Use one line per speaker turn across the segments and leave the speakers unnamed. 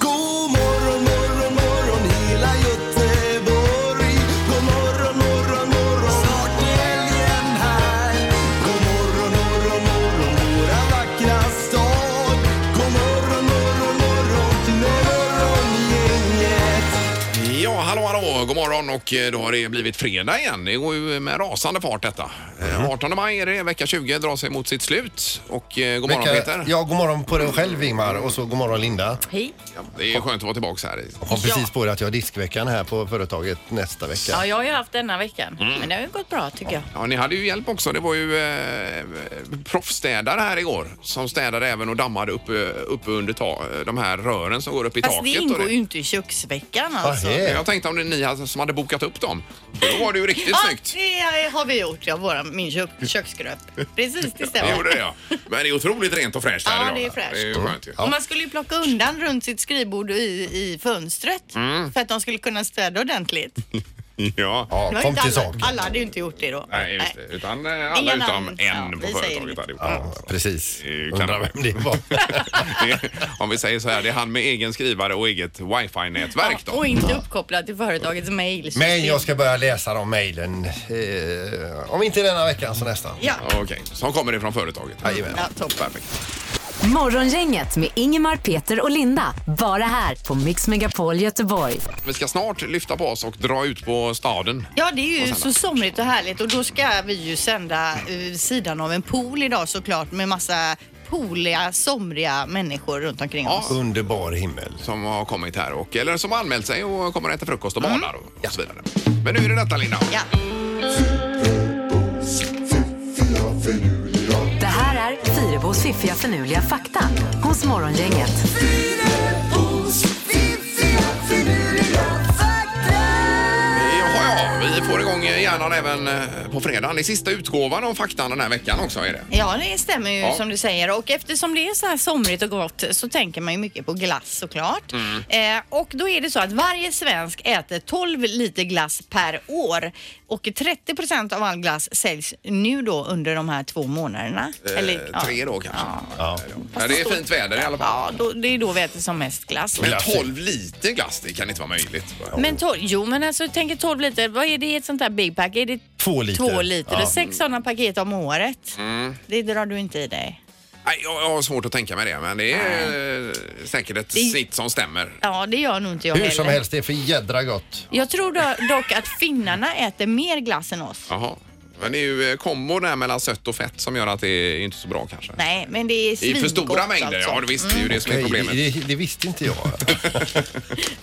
God morgon, morgon, morgon hela Göteborg. God morgon, morgon, morgon. Snart är helgen här. God morgon, morgon, morgon våra vackra stad. God morgon, morgon, morgon morgongänget.
Ja, hallå, hallå, god morgon och eh, då har det blivit fredag igen. Det går ju med rasande fart detta. Eh,
Mm.
18 maj är det, vecka 20 drar sig mot sitt slut. Och eh, god morgon
Vecka-
Peter.
Ja, god morgon på dig själv Ingmar och så god morgon Linda.
Hej.
Det är skönt att vara tillbaka här.
Jag kom precis på det att jag har diskveckan här på företaget nästa vecka.
Ja, jag har ju haft denna veckan.
Mm.
Men det har ju gått bra tycker jag.
Ja, ni hade ju hjälp också. Det var ju eh, proffsstädare här igår som städade även och dammade uppe upp under ta, de här rören som går upp i
Fast det
taket. och
ingår
det- Ah,
ju inte i köksveckan alltså.
Vad
Men
är-
Jag tänkte om det är ni hade- som hade bokat upp dem. Då var det ju riktigt
Ja,
snyggt.
det har vi gjort, ja, våra, min kök, köksgrupp. Precis, det
Det
stämmer.
gjorde det ja. Men det är otroligt rent och fräscht här
Ja,
idag.
det är fräscht.
Det är ju skönt ju.
Och man skulle ju plocka undan runt sitt skrivbord och i, i fönstret för att de skulle kunna städa ordentligt. Det
Mm. Ja.
Ja,
var
kom
inte
till
alla,
sak.
alla hade ju inte gjort det då.
Nej, just det. Utan eh, alla
Ingen
utom
annan.
en
Ja,
på
vi säger
företaget
inget.
hade gjort
Ja, precis.
Det kan
Undrar
vara.
vem det var.
det. Om vi säger så här, det är han med egen skrivare och eget wifi-nätverk
Ja,
då.
och inte uppkopplad till företagets mail.
Men jag ska börja läsa de mejlen. Eh, om inte denna veckan så nästa.
Ja,
Ja, Okej, som kommer ifrån företaget.
Jajamän.
ja toppen.
Morgongänget med Ingemar, Peter och Linda. Bara här på Mix Megapol Göteborg.
Vi ska snart lyfta på oss och dra ut på staden.
Ja, det är ju så somrigt och härligt och då ska vi ju sända eh, sidan av en pool idag såklart med massa pooliga, somriga människor runt omkring
Ja.
oss.
Underbar himmel.
Som har kommit här och, eller som har anmält sig och kommer att äta frukost och badar och, och så vidare. Men nu är det detta Linda.
Mm. Ja.
Det här är Fyrabos fiffiga förnuliga fakta hos Morgongänget.
Jaha, ja, vi får igång hjärnan även eh, på fredag. Det är sista utgåvan av faktan den här veckan också är det.
Ja, det stämmer ju
Ja.
som du säger och eftersom det är så här somrigt och gott så tänker man ju mycket på glass såklart.
Mm.
Eh, och då är det så att varje svensk äter 12 liter glass per år och 30 procent av all glass säljs nu då under de här två månaderna. Eller, ja.
Eh, tre då kanske.
Ja.
Ja, det är fint väder i alla fall.
Ja, då, det är då vi äter som mest glass.
Men 12 liter glass, det kan inte vara möjligt.
Men tolv, jo men alltså tänk er 12 liter, vad är det i ett sånt här big pack? Är det
Två liter.
två liter?
Ja. Mm.
Det är sex sådana paket om året.
Mm.
Det drar du inte i dig.
Nej, jag, jag har svårt att tänka mig det, men det är eh, säkert ett snitt som stämmer.
Ja, det gör nog inte jag
Hur
heller.
som helst, det är för jädra gott.
Jag tror do- dock att finnarna äter mer glass än oss.
Jaha. Men det är ju eh, kombon där mellan sött och fett som gör att det är inte så bra kanske.
Nej, men det är
I
svingott
för stora mängder,
alltså.
ja visst, det är ju det som är
Nej,
problemet.
det, det visste inte jag.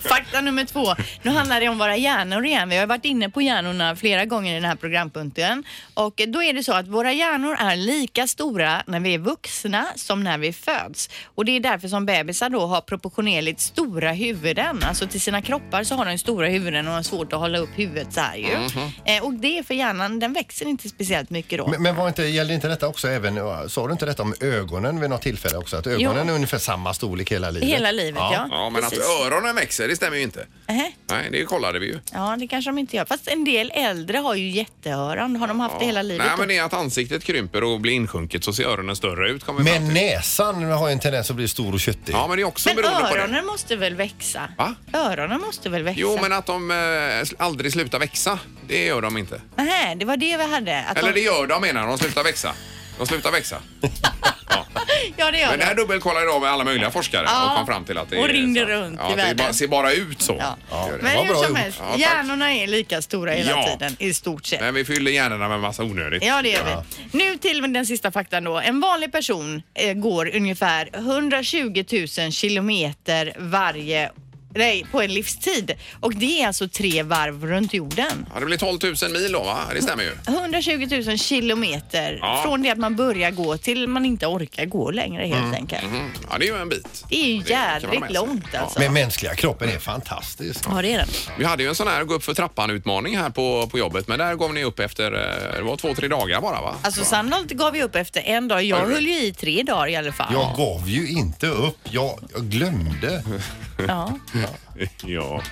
Fakta nummer två. Nu handlar det om våra hjärnor igen. Vi har varit inne på hjärnorna flera gånger i den här programpunkten. Och då är det så att våra hjärnor är lika stora när vi är vuxna som när vi föds. Och det är därför som bebisar då har proportionerligt stora huvuden. Alltså till sina kroppar så har de stora huvuden och har svårt att hålla upp huvudet så här ju.
Mhm.
Eh, Och det är för hjärnan, den växer inte speciellt mycket då.
Men, men var inte, gällde inte detta också även, sa du inte detta om ögonen vid något tillfälle också? Att ögonen är ungefär samma storlek hela livet?
Hela livet ja.
Ja, men att
Precis.
öronen växer, det stämmer ju inte.
Ähä.
Nej, det kollade vi ju.
Ja, det kanske de inte gör. Fast en del äldre har ju jätteöron. Har de haft det hela livet?
Nej,
då?
men det är att ansiktet krymper och blir insjunket så ser öronen större ut. Kommer vi fram
Men
till.
näsan har ju en tendens att bli stor och köttig.
Ja, men det är också
Men
beroende på det.
öronen måste väl växa?
Va?
Öronen måste väl växa?
Jo, men att de eh, sl- aldrig slutar växa, det gör de inte.
Nähä, det var det vi hade. Att
Eller
de...
det gör de menar de, de slutar växa. De slutar växa.
Ja, det gör
Men det här
det.
dubbelkollade jag med alla mögliga forskare
Ja.
och kom fram till att det
Och
är
ringde
så.
runt
ja,
i
att det
världen.
bara, ser bara ut så.
Ja.
Det gör det.
Men
Vad
hur
bra
som
gjort.
helst,
Ja, tack.
hjärnorna är lika stora hela
Ja.
tiden i stort sett.
Men vi fyller hjärnorna med massa onödigt.
Ja, det gör vi. Nu till den sista faktan då. En vanlig person eh, går ungefär 120 000 kilometer varje
Nej, på en livstid. Och det är alltså tre varv runt jorden.
Ja, det blir 12 000 mil då, va? Det stämmer ju.
120 000 kilometer
Ja.
från det att man börjar gå till man inte orkar gå längre helt enkelt.
Mm. Ja, det är ju en bit.
Det är ju
kan man ha med
jädrigt
sig.
långt
Ja.
alltså.
Men mänskliga kroppen är fantastisk.
Ja, det är den.
Vi hade ju en sån här gå upp för trappan-utmaning här på, på jobbet, men där gav ni upp efter, eh, det var två, tre dagar bara va?
Alltså Sandholt gav vi upp efter en dag. Jag
gjorde
höll ju i tre dagar i alla fall.
Jag gav ju inte upp. Jag, jag glömde.
Ja.
Ja.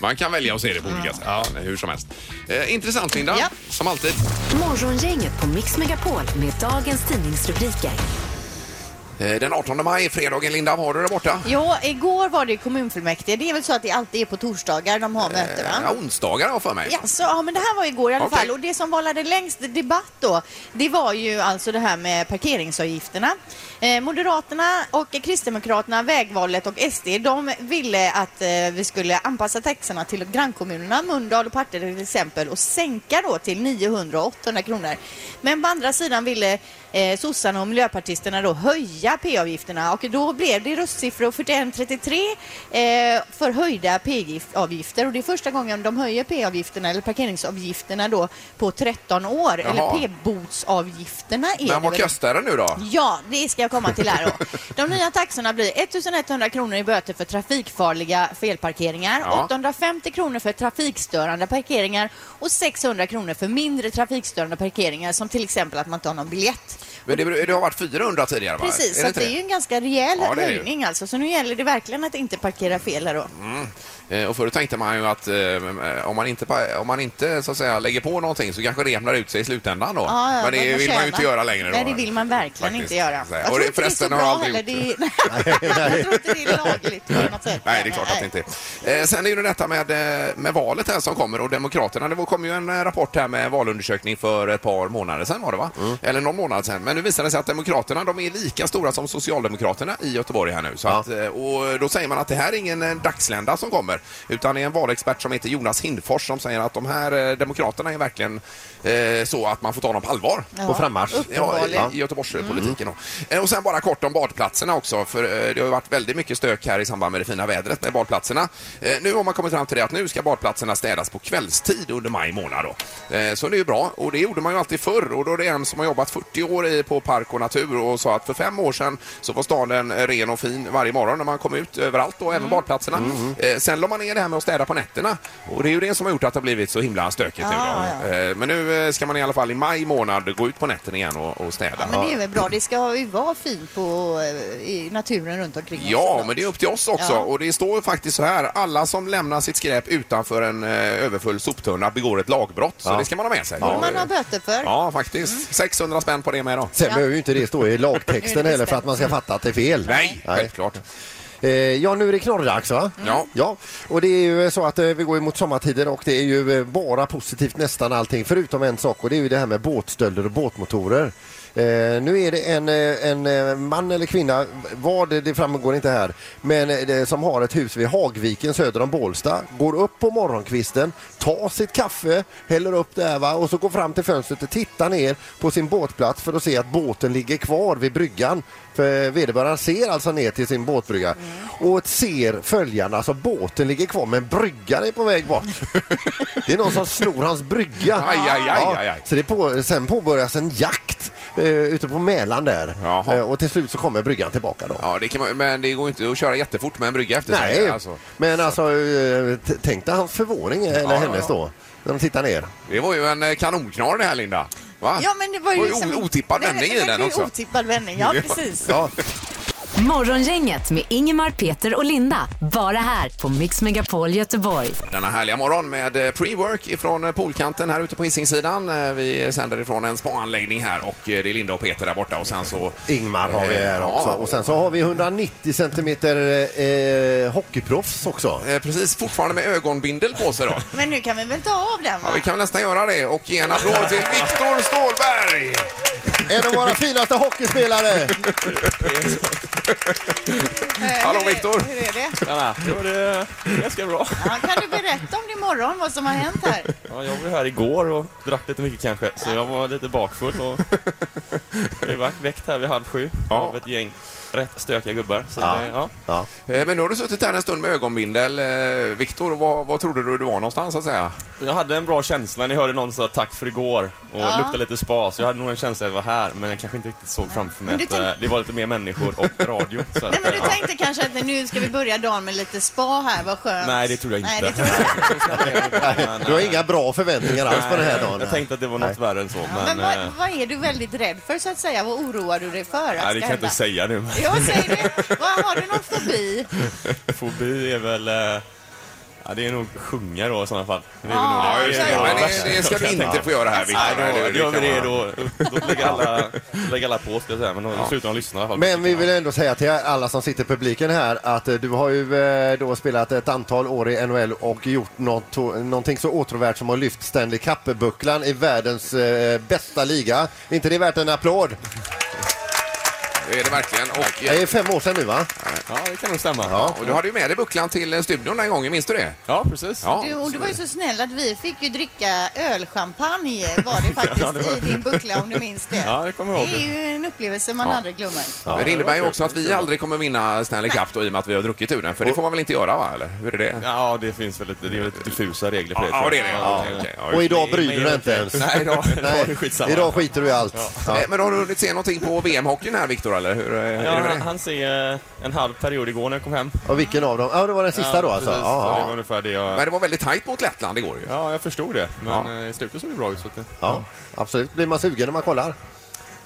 Man kan välja att se det på olika sätt, men hur som helst. Eh, intressant Linda,
Ja.
som alltid.
Morgongänget på Mix Megapol med dagens tidningsrubriker.
Eh, den 18 maj, fredagen Linda, var du där borta?
Jo, igår var det kommunfullmäktige. Det är väl så att det alltid är på torsdagar de har möte va?
Eh, Ja, onsdagar har jag för mig.
Ja, så, ja, men det här var igår i alla
Okej.
fall. Och det som vållade längst debatt då, det var ju alltså det här med parkeringsavgifterna. Eh, Moderaterna och Kristdemokraterna, Vägvalet och SD, de ville att eh, vi skulle anpassa taxorna till grannkommunerna, Mölndal och Partille till exempel, och sänka då till 900 och 800 kronor. Men på andra sidan ville eh, sossarna och miljöpartisterna då höja p-avgifterna och då blev det röstsiffror 41-33 eh, för höjda p-avgifter och det är första gången de höjer p-avgifterna eller parkeringsavgifterna då på 13 år
Jaha.
eller p-botsavgifterna är
Men
det
vad
väl.
kostar den nu då?
Ja, det ska jag komma till här då. De nya taxorna blir 1100 kronor i böter för trafikfarliga felparkeringar,
Ja.
850 kronor för trafikstörande parkeringar och 600 kronor för mindre trafikstörande parkeringar som till exempel att man inte har någon biljett.
Men det, det har varit 400 tidigare va?
Precis, så
det
att det
inte
är ju en ganska rejäl
Ja, det är det ju.
höjning alltså. Så nu gäller det verkligen att inte parkera fel här då.
Eh, Och förut tänkte man ju att eh, om man inte, pa- om man inte så att säga, lägger på någonting så kanske det jämnar ut sig i slutändan då.
Ja, ja,
Men det
vad man
vill man
tjänar.
ju inte göra längre.
Nej,
då.
det vill man verkligen
Faktiskt.
inte göra.
Så här.
Jag
Och
tror
det-
inte det är så
förresten
bra
har jag aldrig
heller.
gjort det.
Det är... jag tror inte det är lagligt på något sätt.
Nej, det är klart att det inte är. Eh, Sen är ju detta med, eh, med valet här som kommer och Demokraterna. Det var- kom ju en eh, rapport här med valundersökning för ett par månader sedan var det va?
Mm.
Eller någon månad sedan. Men nu visar det sig att Demokraterna de är lika stora som Socialdemokraterna i Göteborg här nu. Så att, eh, och då säger man att det här är ingen eh, dagslända som kommer utan det är en valexpert som heter Jonas Hindfors som säger att de här eh, Demokraterna är verkligen eh, så att man får ta dem på allvar.
På frammarsch.
Ja, i-
Uppenbarligen.
i Göteborgspolitiken. då. Eh, Och sen bara kort om badplatserna också, för eh, det har ju varit väldigt mycket stök här i samband med det fina vädret med badplatserna. Eh, Nu har man kommit fram till det att nu ska badplatserna städas på kvällstid under maj månad då. Eh, Så det är ju bra och det gjorde man ju alltid förr och då är det en som har jobbat 40 år i, på park och natur och sa att för fem år sedan så var staden eh, ren och fin varje morgon när man kom ut överallt då, även badplatserna. Eh, Sen la man ner det här med att städa på nätterna och det är ju det som har gjort att det har blivit så himla stökigt nu
Ja, ja.
då. Eh, Men nu eh, ska man i alla fall i maj månad gå ut på nätterna igen och, och städa.
Ja, men det är väl bra. Det ska ju vara fint på, eh, i naturen runt omkring oss
Ja,
såklart.
men det är upp till oss också.
Ja.
Och det står faktiskt så här. Alla som lämnar sitt skräp utanför en eh, överfull soptunna begår ett lagbrott. Så det ska man ha med sig.
Borde man Mm. ha böter för?
Ja, faktiskt. 600 spänn på det med då.
Sen behöver ju inte det stå i
Nu är
lagtexten
det
heller för att man ska fatta att det är fel.
Nej, självklart.
Eh, ja, nu är det knorrdags va?
Ja.
ja. Och det är ju så att eh, vi går mot sommartider och det är ju eh, bara positivt nästan allting förutom en sak och det är ju det här med båtstölder och båtmotorer. Eh, nu är det en, eh, en eh, man eller kvinna, vad det, det framgår inte här, men eh, det, som har ett hus vid Hagviken söder om Bålsta, går upp på morgonkvisten, tar sitt kaffe, häller upp där va och så går fram till fönstret och tittar ner på sin båtplats för att se att båten ligger kvar vid bryggan. För vederbörande ser alltså ner till sin båtbrygga och ser följarna, alltså båten ligger kvar men bryggan är på väg bort. det är någon som snor hans brygga.
Aj, aj, aj,
Ja,
aj, aj.
Så det på, sen påbörjas en jakt eh, ute på Mälaren där
Jaha.
Eh, och till slut så kommer bryggan tillbaka då.
Ja, det kan man, men det går inte att köra jättefort med en brygga efter sig.
Nej,
Alltså,
men alltså eh, t- tänk dig hans förvåning eh, eller
Ja, ja,
hennes
ja.
då när de tittar ner.
det var ju en eh, kanonknar det här, Linda. Va?
Ja, men det var ju
o-
liksom...
otippad
Nej,
vändning
det
i
var
den
ju
också.
Otippad vändning, ja precis.
Ja.
Morgongänget med Ingemar, Peter och Linda. Bara här på Mix Megapol Göteborg.
Denna härliga morgon med eh, pre-work ifrån eh, poolkanten här ute på Hisingssidan. Eh, Vi sänder ifrån en spaanläggning här och eh, det är Linda och Peter där borta och sen så... Eh,
Ingmar har vi här
Ja.
också. Och sen så har vi 190 centimeter eh, hockeyproffs också.
Eh, Precis, fortfarande med ögonbindel på sig då.
Men nu kan vi väl ta av den va?
Ja, vi kan nästan göra det och ge en applåd till Viktor Stålberg!
En av våra finaste hockeyspelare!
Eh,
Hallå,
hur är-
Viktor.
Hur är det?
Tjena! Det var det ganska bra.
Ja, kan du berätta om det imorgon, vad som har hänt här?
Ja, jag var här igår och drack lite mycket kanske, så jag var lite bakfull och blev väckt här vid halv sju
Ja.
av ett gäng rätt stökiga gubbar. Så
Ja.
ja. Ja.
Eh, Men nu har du suttit här en stund med ögonbindel, eh, Viktor. och Vad, vad trodde du du var någonstans, så att säga?
Jag hade en bra känsla när jag hörde någon säga tack för igår och
Ja.
lukta lite spa, så jag hade nog en känsla att jag var här, men jag kanske inte riktigt såg framför mig
Men du
att eh,
tänk-
det var lite mer människor och radio. Så att,
Nej, men du
eh, ja.
tänkte kanske att nu ska vi börja dagen med lite spa här, vad skönt.
Nej, det tror jag
Nej,
inte.
det tror
Men,
Du har
eh,
inga bra förväntningar alls på den här
nej,
dagen.
Jag tänkte att det var något värre än så, men...
Men vad,
eh,
vad är du väldigt rädd för så att säga? Vad oroar du dig för att
nej, det
ska
kan jag inte
hända?
säga nu. men-
Jo, säg det. Vad, har du någon fobi?
Fobi är väl... eh, Ja, det är nog sjunga då i sådana fall. Det är väl
Ja,
nog
just det. Men det-
värsta
det ska
jag
vi
kan
inte
tänka.
få göra här, Victor.
Nej,
Nej, det-
då-
det
Gör vi
kan
det
man-
då, då lägger alla, lägger alla på, ska jag säga. Men då slutar de lyssna i alla fall.
Men vi vill ändå säga till alla som sitter i publiken här att eh, du har ju eh, då spelat ett antal år i NHL och gjort något, to- någonting så åtråvärt som att lyft Stanley Cup-bucklan i världens eh, bästa liga. Är inte det värt en applåd?
Det är det verkligen. Och,
Det är fem år sedan nu va?
Ja, det kan nog stämma.
Ja, och du hade ju med dig bucklan till eh, studion den gången, minns du det?
Ja, precis.
Du, och du var ju så snäll att vi fick ju dricka ölchampagne var det
Ja, det
faktiskt
var-
i din buckla om du minns det.
Ja, det kommer jag ihåg.
Det är ju en upplevelse man
Ja.
aldrig glömmer.
Men det innebär ju också att vi aldrig kommer vinna Stanley Cup då, i och med att vi har druckit ur den, för det får man väl inte göra, va? Eller hur är det?
Ja, det finns väl lite, det är lite diffusa regler för det.
Ja,
tror
det
jag.
är det.
Ja.
Okej, okej. Ja,
Och
just
idag
det.
bryr du dig inte ens.
Nej, idag,
Nej, idag skiter du i allt. Ja.
Eh, Men har du hunnit se någonting på VM-hockeyn här, Viktor, eller hur eh, är
Ja,
det med
han,
det?
han ser eh, en halv period igår när jag kom hem.
Och vilken av dem? Ja, det var den sista
Ja,
då alltså?
precis.
Ja,
Det
ja.
var ungefär det jag...
Men det var väldigt tajt mot Lettland igår ju.
Ja, jag förstod det. Men eh, i slutet såg det bra ut. Så att det...
ja, absolut. Blir man sugen när man kollar?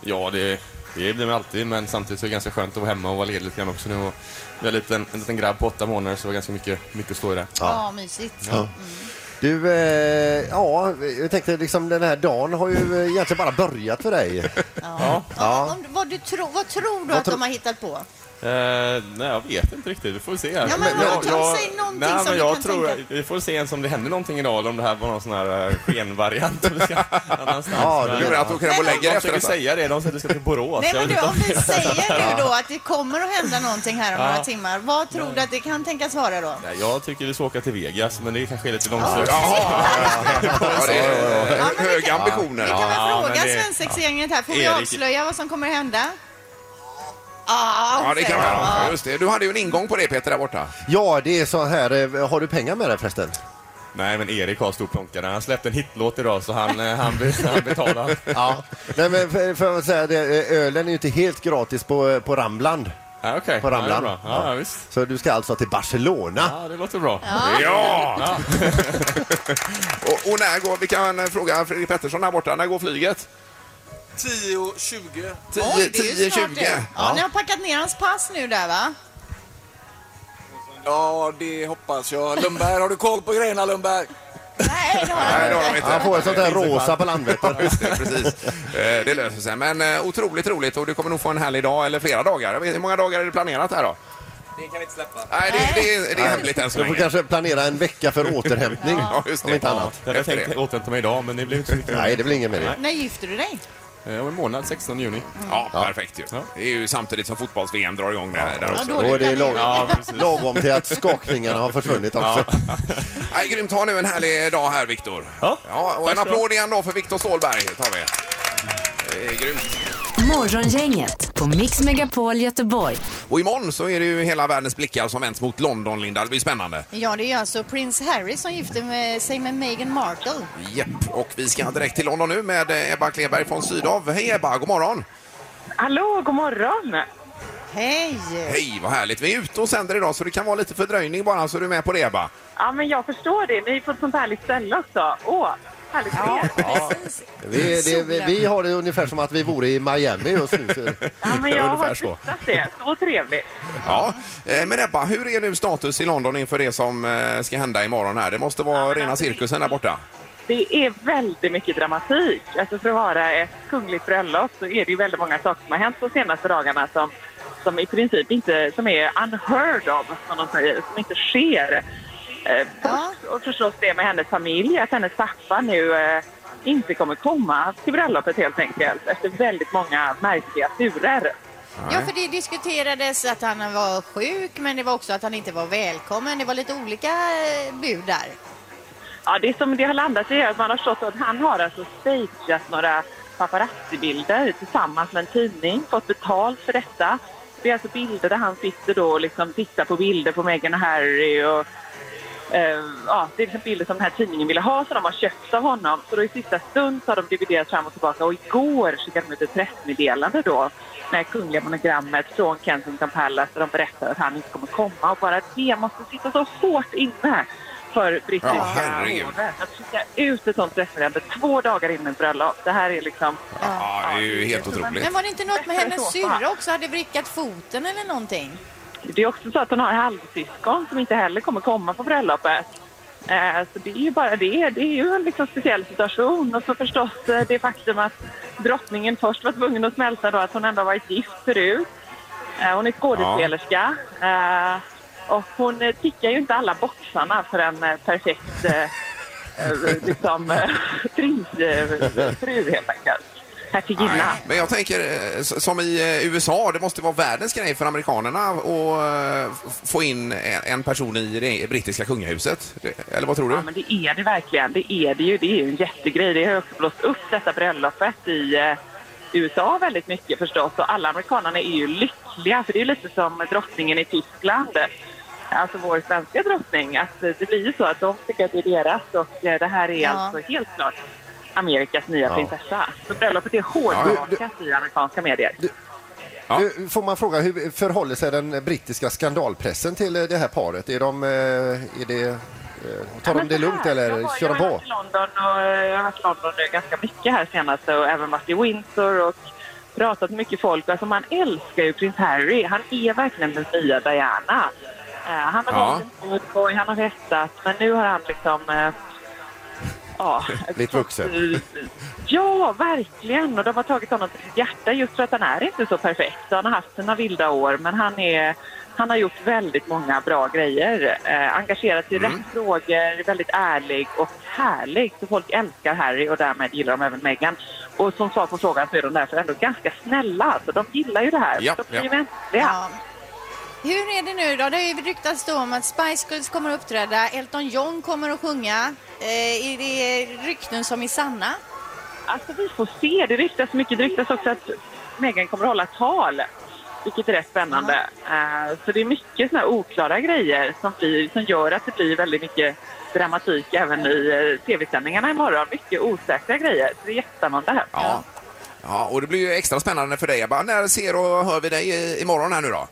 Ja, det, det blir man alltid, men samtidigt så är det ganska skönt att vara hemma och vara ledig lite grann också nu. Och vi har en liten, en liten grabb på åtta månader, så det var ganska mycket, mycket att stå i det.
Ja, mysigt.
Ja. Du, eh, ja, jag tänkte liksom den här dagen har ju eh, egentligen bara börjat för dig.
Ja.
ja.
Om, vad, du tro, vad tror du att de har hittat på?
Eh, nej, jag vet inte riktigt. Vi får se. Ja,
men vadå? Ta- säg någonting
nej,
som
men
du
jag
kan
tror,
tänka.
Vi får se ens om det händer någonting idag, eller om det här var någon sån här eh, skenvariant. eller ska- annanstans.
Ja, du
Men-
menar att
alltså-
de kräver
De
lägger efter
försöker
detta?
säga det. De säger att du ska till Borås.
Nej,
Jag
men
vet
du,
inte
om vi säger nu då att det kommer att hända någonting här om
Ja.
några timmar, vad tror du att det kan tänkas vara då?
Nej, Jag tycker vi ska åka till Vegas, men det kanske är lite
Ja.
långsökt.
Ja, det är
Ja,
hö- höga ambitioner.
kan väl
Ja,
Fråga
men det-
svensexgänget här, får vi
Erik-
avslöja vad som kommer att hända? Ah,
Ja, det kan
säger
man.
de.
Ja, Just det. Du hade ju en ingång på det, Peter, där borta.
Ja, det är så här. eh, Har du pengar med dig förresten?
Nej, men Erik har stor plånka. Han släppte en hitlåt idag, så han, eh, han, be- han betalar.
Ja. Nej, men för, för att säga det, eh, ölen är ju inte helt gratis på, eh, på Rambland.
Ja, okej.
På
Ja, det är
Rambland.
bra. Ja, ja,
Så du ska alltså till Barcelona.
Ja, det låter bra.
Ja! och, och när går, vi kan eh, fråga Fredrik Pettersson här borta, när går flyget?
10, 20.
Oj, det är ju
10,
snart
20.
det. Ja,
Ja.
Ni har packat ner hans pass nu där va?
Ja, det hoppas jag. Lundberg, har du koll på grejerna Lundberg?
Nej, det har jag
Nej, det har de inte.
Han får ett sånt där rosa på Landvetter.
Just det, precis. Eh, Det löser sig. Men eh, otroligt roligt och du kommer nog få en härlig dag eller flera dagar. Jag vet- Hur många dagar är det planerat här då?
Det kan vi inte släppa.
Nej, det, det, är- det är hemligt än så
Du får
länge.
kanske planera en vecka för återhämtning.
Ja, just det.
Om inte annat.
Jag hade tänkt återhämta mig idag, men det blev inte så mycket.
Nej, det blir ingen med det.
När gifter du dig?
Eh, Om en månad, 16 juni.
Ja, perfekt ju. Det är ju samtidigt som fotbolls-VM drar igång där, där också.
Och det är lagom,
Ja, precis.
lagom till att skakningarna har försvunnit också.
Nej, grymt. Ha nu en härlig dag här, Viktor. Ja. och en
Tack så.
applåd igen då för Viktor Ståhlberg tar vi. Det är grymt.
Morgongänget på Mix Megapol Göteborg.
Och imorgon så är det ju hela världens blickar som vänds mot London, Linda. Det blir spännande.
Ja, det är ju alltså prins Harry som gifte med, sig med Meghan Markle.
Japp, och vi ska direkt till London nu med eh, Ebba Kleberg från Sydow. Hej Ebba, god morgon!
Hallå, god morgon!
Hej!
Hej, vad härligt. Vi är ute och sänder idag så det kan vara lite fördröjning bara så är du med på det Ebba.
Ja, men jag förstår det. Ni är på ett sånt härligt ställe också. Åh, härligt ja.
Vi, det, vi, vi har det ungefär som att vi vore i Miami just nu. så-
ja, men jag
Ungefär
har
så.
tittat det. Så trevligt.
Ja, eh, men Ebba, hur är nu status i London inför det som eh, ska hända imorgon här? alltså, Det måste vara rena cirkusen där borta.
Det är väldigt mycket dramatik. Alltså för att vara ett kungligt bröllop så är det ju väldigt många saker som har hänt de senaste dagarna som, som i princip inte som är unheard of, som de säger, som inte sker. Eh, först- Och förstås det med hennes familj, att hennes pappa nu eh, inte kommer komma till bröllopet helt enkelt efter väldigt många märkliga turer.
Ja, för det diskuterades att han var sjuk, men det var också att han inte var välkommen. Det var lite olika eh, bud där.
Ja, det som det har landat i är att man har förstått att han har alltså stageat några paparazzibilder tillsammans med en tidning, fått betalt för detta Det är alltså bilder där han sitter då och liksom tittar på bilder på Meghan och Harry. Och, eh, ja, det är liksom bilder som den här tidningen ville ha som de har köpt av honom. Så då i sista stund så har de dividerat fram och tillbaka och igår skickade de ut ett pressmeddelande då med kungliga monogrammet från Kensington Palace där de berättar att han inte kommer komma. Och bara det måste sitta så hårt inne för brittiska
Ja, herregud.
hovet att skicka ut ett sånt pressmeddelande två dagar innan bröllop. Det här är liksom...
Ja, det är ju helt otroligt.
Men var det inte något med
Jag
hennes
förstår fan.
syrra också? Hade vrickat foten eller någonting?
Det är också så att hon har halvsyskon som inte heller kommer komma på bröllopet. Eh, Så det är ju bara det. Det är ju en liksom speciell situation. Och så förstås eh, det faktum att drottningen först var tvungen att smälta då att hon ändå har varit gift förut. Eh, Hon är skådespelerska. Eh, Och hon eh, tickar ju inte alla boxarna för en eh, perfekt eh, eh, liksom, eh, prins, eh, fru helt enkelt. Hertiginna.
Nej, Men jag tänker eh, s- som i eh, USA, det måste vara världens grej för amerikanerna att eh, f- få in en en person i det brittiska kungahuset. Det- Eller vad tror du?
Ja, men det är det verkligen. Det är det ju. Det är ju en jättegrej. Det har ju också blåst upp detta bröllopet i eh, USA väldigt mycket förstås. Och alla amerikanerna är ju lyckliga, för det är ju lite som drottningen i Tyskland. Alltså vår svenska drottning. Att eh, det blir ju så att de tycker att det är deras och eh, det här är
Ja.
alltså helt klart Amerikas nya
Ja.
prinsessa. Så bröllopet är hårdbakat i amerikanska medier.
Nu Får man fråga, hur förhåller sig den brittiska skandalpressen till eh, det här paret? Är de, eh, är det, eh, tar de
men
det
så
lugnt
här,
eller
jag har-
kör de
Jag har
på?
varit i London och eh, jag har varit i London nu ganska mycket här senast och även varit i Windsor och pratat med mycket folk. Alltså man älskar ju prins Harry. Han är verkligen den nya Diana. Eh, han har
Ja.
varit en moodboy, han har festat, men nu har han liksom... eh, ja,
Lite vuxen.
ja, verkligen. Och de har tagit honom till sitt hjärta just för att han är inte så perfekt. Han har haft sina vilda år, men han, är, han har gjort väldigt många bra grejer. Eh, engagerat sig i
Mm.
rätt frågor, väldigt ärlig och härlig. Så folk älskar Harry och därmed gillar de även Meghan. Och som svar på frågan så är de därför ändå ganska snälla. Så de gillar ju det här.
Ja,
de är ju
ja.
mänskliga.
Hur är det nu då? Det har ju ryktats då om att Spice Girls kommer att uppträda, Elton John kommer att sjunga. Eh, är det rykten som är sanna?
Alltså vi får se. Det ryktas mycket. Det ryktas också att Meghan kommer att hålla tal. Vilket är rätt spännande. Eh, så det är mycket såna här oklara grejer som, blir, som gör att det blir väldigt mycket dramatik även i eh, tv-sändningarna imorgon. Mycket osäkra grejer. Så det är jättespännande.
Ja. ja, och det blir ju extra spännande för dig. Jag bara, när ser och hör vi dig i- imorgon här nu då?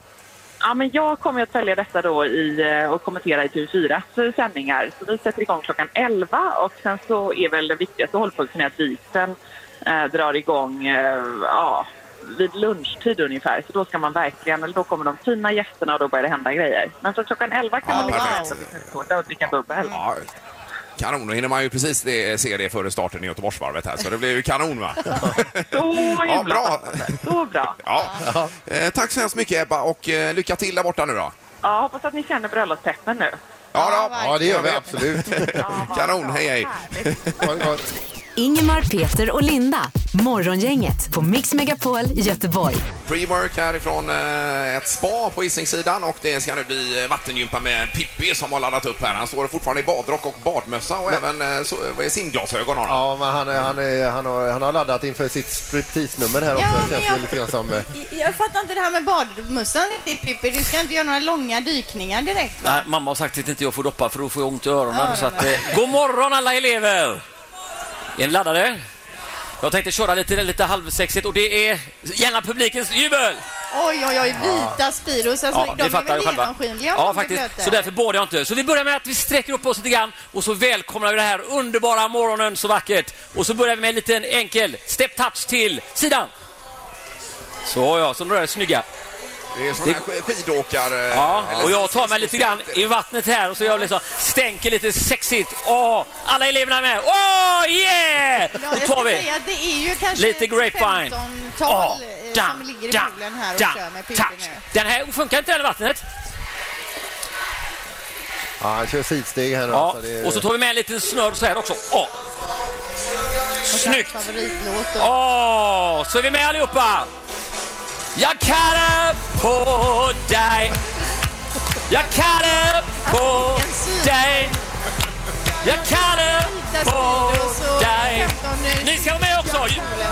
Ja, men jag kommer att följa detta då i, eh, och kommentera i TV4 s sändningar. Så vi sätter igång klockan 11 och sen så är väl den viktigaste hållpunkten att vigseln eh, drar igång eh, ja, vid lunchtid ungefär. Så då ska man verkligen, eller då kommer de fina gästerna och då börjar det hända grejer. Men så klockan 11 kan man ligga och äta prinsesstårta och dricka bubbel.
Ja, kanon, då hinner man ju precis det, se det före starten i Göteborgsvarvet här, så det blir ju kanon va?
Så
Ja,
himla
bra!
Så bra!
Ja. Eh, tack så hemskt mycket Ebba och eh, lycka till där borta nu då.
Ja, hoppas att ni känner bröllopspeppen nu.
Ja, då.
Ja, det gör vi absolut.
Kanon, hej hej!
Ingemar, Peter och Linda. Morgongänget på Mix Megapol Göteborg.
Pre-work härifrån eh, ett spa på Hisingssidan och det ska nu bli eh, vattengympa med Pippi som har laddat upp här. Han står fortfarande i badrock och badmössa och även eh, så, vad är simglasögon har han.
Ja, men han, är- han, är- han, har, han har laddat inför sitt striptease-nummer här också. Det känns
jag-
väl lite grann som... eh,
Jag fattar inte det här med badmössan riktigt Pippi. Du ska inte göra några långa dykningar direkt.
Nej, mamma har sagt att inte jag får doppa för då får jag ont i öronen.
Öronen.
Så att, eh, god morgon alla elever! Är ni laddade? Jag tänkte köra lite, lite halvsexigt och det är gärna publikens jubel!
Oj, oj, oj, vita
Ja.
Spiros. Alltså,
Ja,
de
ni
är
fattar
väl
ju själva.
genomskinliga om
Ja,
de blir
faktiskt.
blöta.
Så därför borde jag inte. Så vi börjar med att vi sträcker upp oss lite grann och så välkomnar vi den här underbara morgonen så vackert. Och så börjar vi med en liten enkel step touch till sidan. Så ja, så några snygga.
Det är sån här skidåkar... eh,
Ja,
eller-
och jag tar mig lite grann i vattnet här och så gör jag liksom stänker lite sexigt. Åh, alla eleverna är med. Åh, yeah!
Ja,
Då
jag
tar
ska
vi.
säga att det är ju kanske
Lite grapevine.
15-tal eh,
da,
som ligger i
da,
poolen här och
da,
kör med Pippi
tack.
nu.
Den här funkar inte den i vattnet.
Ja, han kör sidsteg här nu.
Ja,
alltså, det är-
och så tar vi med en liten snurr så här också. Åh. Snyggt!
Favoritlåt
Åh, så är vi med allihopa! Jag kallar på dig Jag kallar på dig Jag kallar på dig Ni ska vara med också!